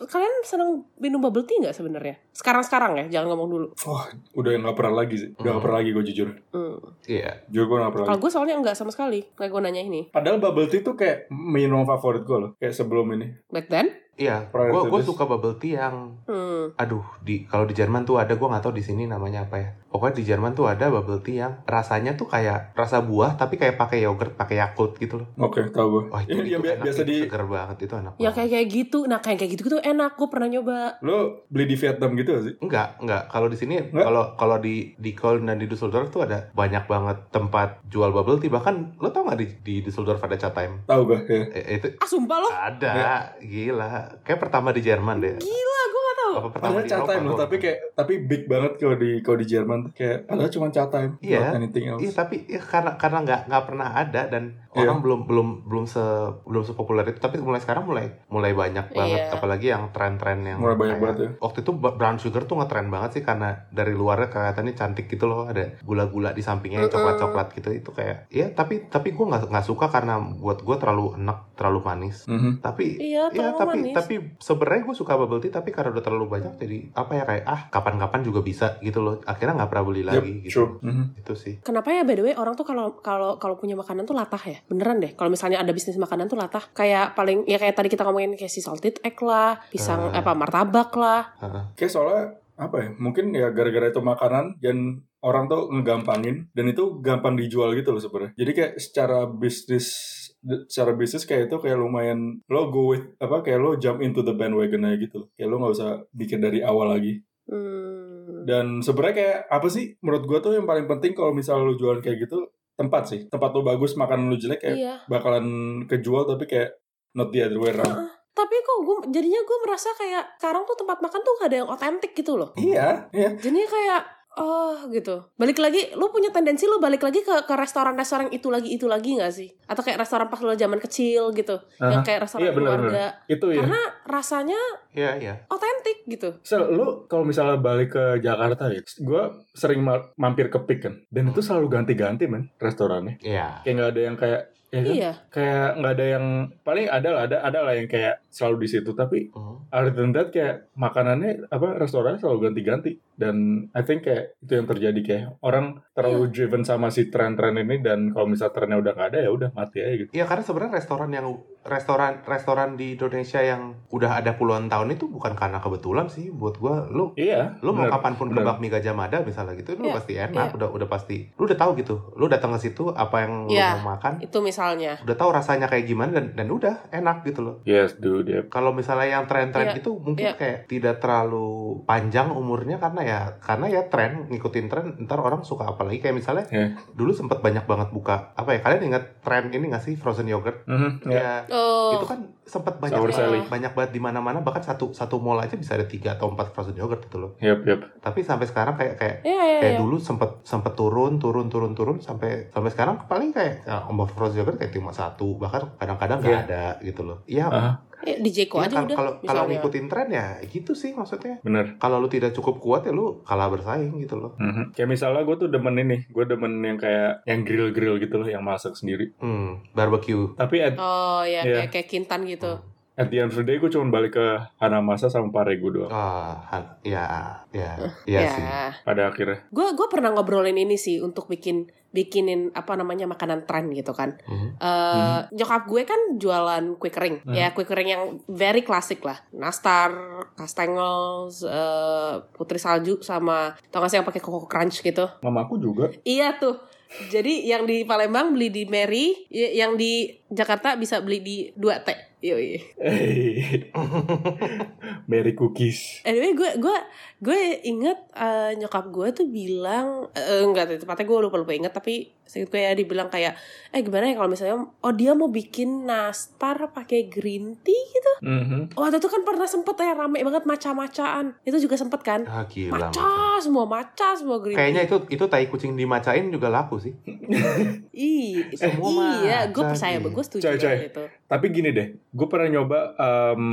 S3: kalian seneng minum bubble tea nggak sebenarnya? Sekarang-sekarang ya, jangan ngomong dulu.
S4: Udah nggak pernah lagi sih, udah nggak
S1: Mhm.
S4: pernah lagi gue jujur.
S3: Hmm.
S1: iya
S4: Jujur gue nggak pernah
S3: Kalau
S4: lagi.
S3: gue soalnya nggak sama sekali. Kayak gue nanya ini.
S4: Padahal bubble tea tuh kayak minum favorit gue loh, kayak sebelum ini.
S3: Back then?
S1: iya
S4: Prior
S1: gue
S4: to
S1: gue
S4: this.
S1: suka bubble tea yang
S3: Hmm.
S1: aduh di kalau di Jerman tuh ada gue nggak tahu di sini namanya apa ya pokoknya di Jerman tuh ada bubble tea yang rasanya tuh kayak rasa buah tapi kayak pakai yogurt pakai yakult gitu loh
S4: Oke, tahu gue.
S1: wah itu,
S4: Ini yang
S1: itu
S4: bi-
S1: enak,
S4: Iya, biasa
S1: itu
S4: di
S1: seger banget itu enak
S3: Ya
S1: banget.
S3: kayak kayak gitu. Nah kayak kayak gitu tuh enak. Gue pernah nyoba.
S4: lo beli di Vietnam gitu nggak sih?
S1: Enggak, enggak. Kalau di sini,
S4: Enggak?
S1: kalau kalau di di Köln dan di Düsseldorf tuh ada banyak banget tempat jual bubble tea. Bahkan lo tau nggak di, di Düsseldorf ada chat time?
S4: Tahu gue. Ya.
S1: Eh, itu
S3: Ah sumpah loh.
S1: ada,
S4: Ya.
S1: gila. Kayak pertama di Jerman deh.
S3: Gila gue gak tau.
S1: Apa pertama
S4: Padahal
S1: di
S4: chat
S1: Eropa,
S4: time loh,
S1: gua-
S4: tapi kayak tapi big banget kalau di kalau di Jerman kayak padahal cuma chat time,
S1: Iya.
S4: not anything else.
S1: Iya, tapi ya, karena karena nggak nggak pernah ada dan
S4: Iya.
S1: orang belum belum belum se belum sepopuler itu. Tapi mulai sekarang mulai mulai banyak banget.
S3: Iya.
S1: Apalagi yang tren-tren yang
S4: Mulai banyak
S1: kayak-
S4: banget ya.
S1: waktu itu brown sugar tuh ngetren banget sih karena dari luarnya kelihatannya cantik gitu loh ada gula-gula di sampingnya yang
S3: Mm-mm.
S1: coklat-coklat gitu itu kayak ya tapi tapi gue nggak nggak suka karena buat gue terlalu enak terlalu manis
S4: Mhm.
S1: tapi
S3: Iya,
S1: ya
S3: terlalu
S1: tapi
S3: manis.
S1: tapi sebenarnya gue suka bubble tea tapi karena udah terlalu banyak jadi apa ya kayak ah kapan-kapan juga bisa gitu loh akhirnya nggak pernah beli
S4: Yep,
S1: lagi gitu
S4: true. Mhm.
S1: itu sih
S3: Kenapa ya by the way orang tuh kalau kalau kalau punya makanan tuh latah ya? Beneran deh. Kalau misalnya ada bisnis makanan tuh latah. Kayak paling ya kayak tadi kita ngomongin kayak si salted egg lah, pisang
S1: Ah.
S3: apa martabak lah.
S4: Kayak soalnya apa ya? Mungkin ya gara-gara itu makanan dan orang tuh ngegampangin dan itu gampang dijual gitu loh sebenarnya. Jadi kayak secara bisnis secara bisnis kayak itu kayak lumayan lo go with apa kayak lo jump into the bandwagon aja gitu kayak lo nggak usah mikir dari awal lagi
S3: Hmm.
S4: Dan sebenarnya kayak apa sih menurut gua tuh yang paling penting kalau misalnya lu jualan kayak gitu tempat sih. Tempat lu bagus, makanan lu jelek kayak
S3: Iya.
S4: bakalan kejual tapi kayak not the other way around.
S3: Tapi kok gue jadinya gue merasa kayak sekarang tuh tempat makan tuh gak ada yang otentik gitu loh.
S4: Iya, iya.
S3: Jadinya kayak Oh gitu. Balik lagi, lu punya tendensi lu balik lagi ke ke restoran-restoran itu lagi itu lagi nggak sih? Atau kayak restoran pas lu zaman kecil gitu, yang kayak restoran
S4: Iya, benar,
S3: keluarga.
S4: Itu
S3: Karena rasanya
S1: ya ya
S3: otentik gitu.
S4: Sel, lu kalau misalnya balik ke Jakarta ya, gue sering ma- mampir ke Pik kan, dan itu selalu ganti-ganti men restorannya.
S1: ya
S4: Kayak nggak ada yang kayak, ya kan?
S3: Iya.
S4: kayak nggak ada yang paling ada lah, ada ada lah yang kayak selalu di situ, tapi
S1: Hmm.
S4: other than that kayak makanannya apa restorannya selalu ganti-ganti dan I think kayak itu yang terjadi kayak orang terlalu driven sama si tren-tren ini dan kalau misalnya trennya udah nggak ada ya udah mati aja gitu.
S1: Iya karena sebenarnya restoran yang restoran restoran di Indonesia yang udah ada puluhan tahun itu bukan karena kebetulan sih buat gua lu
S4: Iya.
S1: lu mau
S4: bener.
S1: kapanpun ke
S4: bener.
S1: bakmi Gajah Mada misalnya gitu lu
S3: Iya,
S1: pasti enak
S3: iya.
S1: udah udah pasti lu udah tahu gitu lu datang ke situ apa yang lu
S3: Iya.
S1: mau makan
S3: Itu misalnya.
S1: udah tahu rasanya kayak gimana dan dan udah enak gitu loh
S4: Yes, dude. yep.
S1: kalau misalnya yang tren-tren
S3: Iya,
S1: gitu mungkin
S3: iya.
S1: kayak tidak terlalu panjang umurnya karena ya karena ya tren ngikutin tren ntar orang suka apalagi kayak misalnya
S4: Iya.
S1: dulu sempet banyak banget buka apa ya kalian ingat tren ini nggak sih frozen yogurt
S4: Mhm, ya.
S1: ya
S3: Oh.
S1: itu kan sempat banyak
S4: Sour
S1: banget,
S3: Sally.
S1: banyak banget di mana-mana bahkan satu satu mall aja bisa ada tiga atau empat frozen yogurt gitu loh
S4: Yep, yep.
S1: tapi sampai sekarang kayak kayak
S3: Iya, iya,
S1: kayak
S3: iya.
S1: dulu sempat sempat turun turun turun turun sampai sampai sekarang paling kayak ya, Om frozen yogurt kayak cuma satu bahkan kadang-kadang nggak
S4: Iya.
S1: ada gitu loh ya
S4: Ah,
S3: Ya, di Jeko
S1: ya,
S3: aja
S1: kalau
S3: udah.
S1: kalau kalau
S3: misalnya.
S1: ngikutin tren ya gitu sih maksudnya
S4: Bener.
S1: kalau lu tidak cukup kuat ya lu kalah bersaing gitu loh
S4: Mhm. Kayak misalnya gue tuh demen ini, gue demen yang kayak yang grill-grill gitu loh, yang masak sendiri.
S1: hmm, barbecue
S4: Tapi at,
S3: Oh ya
S4: Iya.
S3: kayak kayak kintan gitu.
S1: Hmm.
S4: at the end of the day gue cuma balik ke Hanamasa sama Parego doang
S1: Ah, Han- ya, ya, ya
S3: Ya.
S1: sih.
S4: pada akhirnya.
S3: Gue gue pernah ngobrolin ini sih untuk bikin bikinin apa namanya makanan tren gitu kan.
S1: Mhm.
S3: Eh nyokap gue kan jualan kue kering.
S4: Hmm.
S3: Ya, kue kering yang very klasik lah. Nastar, kastengel, eh, putri salju sama tau gak sih yang pakai koko crunch gitu.
S4: Mamaku juga.
S3: Iya tuh. Jadi yang di Palembang beli di Mary, y- yang di Jakarta bisa beli di 2T. Yoi.
S4: Hey. Merry cookies.
S3: Anyway, gue gue gue inget eh, nyokap gue tuh bilang eh, enggak deh, tepatnya gue lupa lupa inget tapi sedikit gue ya dibilang kayak eh gimana ya kalau misalnya oh dia mau bikin nastar pakai green tea gitu.
S4: Mhm.
S3: Waktu itu kan pernah sempet ya rame banget maca-macaan. Itu juga sempet kan.
S1: Ah, gila. Macan.
S3: Maca semua maca semua green
S1: Kayaknya
S3: tea.
S1: itu itu tai kucing dimacain juga laku sih.
S3: Ih,
S1: Semua
S3: iya, gue
S1: maca
S3: percaya,
S1: nih.
S3: gue setuju
S4: Coy, coy.
S3: gitu.
S4: Tapi gini deh, gue pernah nyoba em,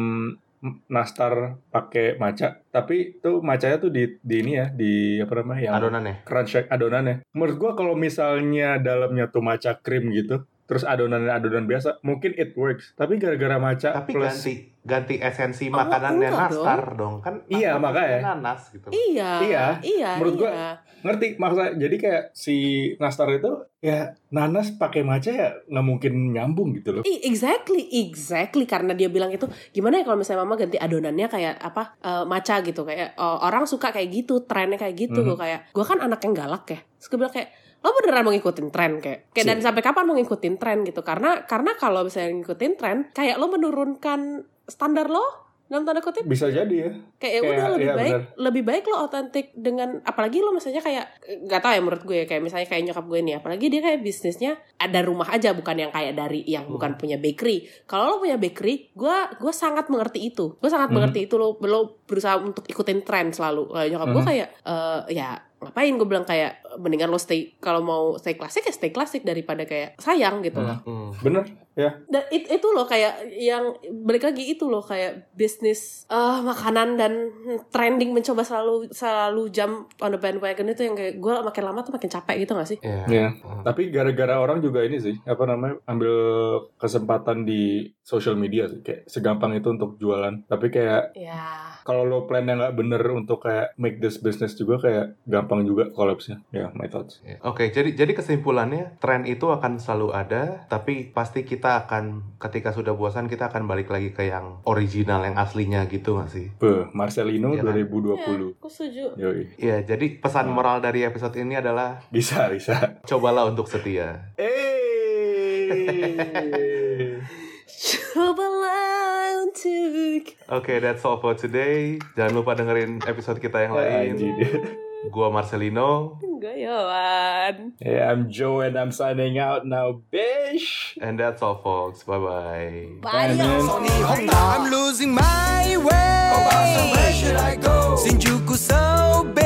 S4: nastar pakai maca, tapi tuh macanya tuh di, di ini ya, di apa namanya yang
S1: Adonannya.
S4: crunch shake adonannya. Menurut gue kalau misalnya dalamnya tuh maca krim gitu, terus adonannya adonan biasa, mungkin it works. Tapi gara-gara maca
S1: Tapi
S4: plus
S1: ganti ganti esensi
S3: Oh,
S1: makanannya
S3: enggak
S1: nastar dong. Kan
S4: Iya,
S1: nastar
S4: makanya.
S1: nanas gitu.
S3: Iya,
S4: Iya,
S3: iya.
S4: menurut
S3: iya.
S4: gua- ngerti maksudnya jadi kayak si nastar itu ya nanas pakai maca ya nggak mungkin nyambung gitu loh
S3: Ih, exactly, exactly karena dia bilang itu gimana ya kalau misalnya mama ganti adonannya kayak apa eh, maca gitu kayak oh, orang suka kayak gitu, trennya kayak gitu
S4: Mhm.
S3: Gua kayak gua kan anak yang galak ya. Terus gue bilang kayak lo beneran mau ngikutin tren kayak, kayak dan sampai kapan mau ngikutin tren gitu karena karena kalau misalnya ngikutin tren kayak lo menurunkan standar lo dalam tanda kutip
S4: bisa jadi ya
S3: kayak ya
S4: Kayak,
S3: udah lebih
S4: iya,
S3: baik lebih baik lo otentik dengan apalagi lo misalnya kayak nggak tahu ya menurut gue kayak misalnya kayak nyokap gue nih apalagi dia kayak bisnisnya ada rumah aja bukan yang kayak dari
S1: Hmm.
S3: yang bukan punya bakery kalau lo punya bakery gue gue sangat mengerti itu gue sangat
S4: Hmm.
S3: mengerti itu lo lo berusaha untuk ikutin tren selalu Eh, nyokap gue
S4: Hmm.
S3: kayak eh, ya ngapain gue bilang kayak mendingan lo stay kalau mau stay klasik ya stay klasik daripada kayak sayang gitu
S4: Hmm.
S3: loh
S1: Hmm.
S4: bener
S3: dan it- itu loh kayak yang balik lagi itu loh kayak bisnis eh makanan dan trending mencoba selalu selalu jam on the bandwagon itu yang kayak gue makin lama tuh makin capek gitu gak sih?
S1: Iya.
S4: Iya.
S1: Hmm.
S4: tapi gara-gara orang juga ini sih apa namanya ambil kesempatan di social media sih kayak segampang itu untuk jualan tapi kayak
S3: Ya.
S4: kalau lo plannya nggak bener untuk kayak make this business juga kayak gampang juga collapse-nya ya my thoughts
S1: Iya. Oke, jadi jadi kesimpulannya tren itu akan selalu ada, tapi pasti kita akan ketika sudah bosan kita akan balik lagi ke yang original, yang aslinya gitu nggak sih?
S4: Beuh, Marcelino
S1: Iya kan?
S4: 2020
S3: Aku setuju.
S4: Yoi.
S1: Iya, jadi pesan
S4: Hmm.
S1: moral dari episode ini adalah
S4: bisa bisa
S1: cobalah untuk setia.
S4: eh
S3: Cobalah untuk
S1: Oke, that's all for today. Jangan lupa dengerin episode kita yang lain.
S4: Oh, Anjing dia.
S1: Gua Marcelino
S3: ya, goyoan.
S4: Hey, I'm Joe and I'm signing out now, bitch.
S1: and that's all folks. Bye-bye.
S3: Bye,
S4: man.
S2: I'm losing my way. Oh, where should I go? Shinjuku so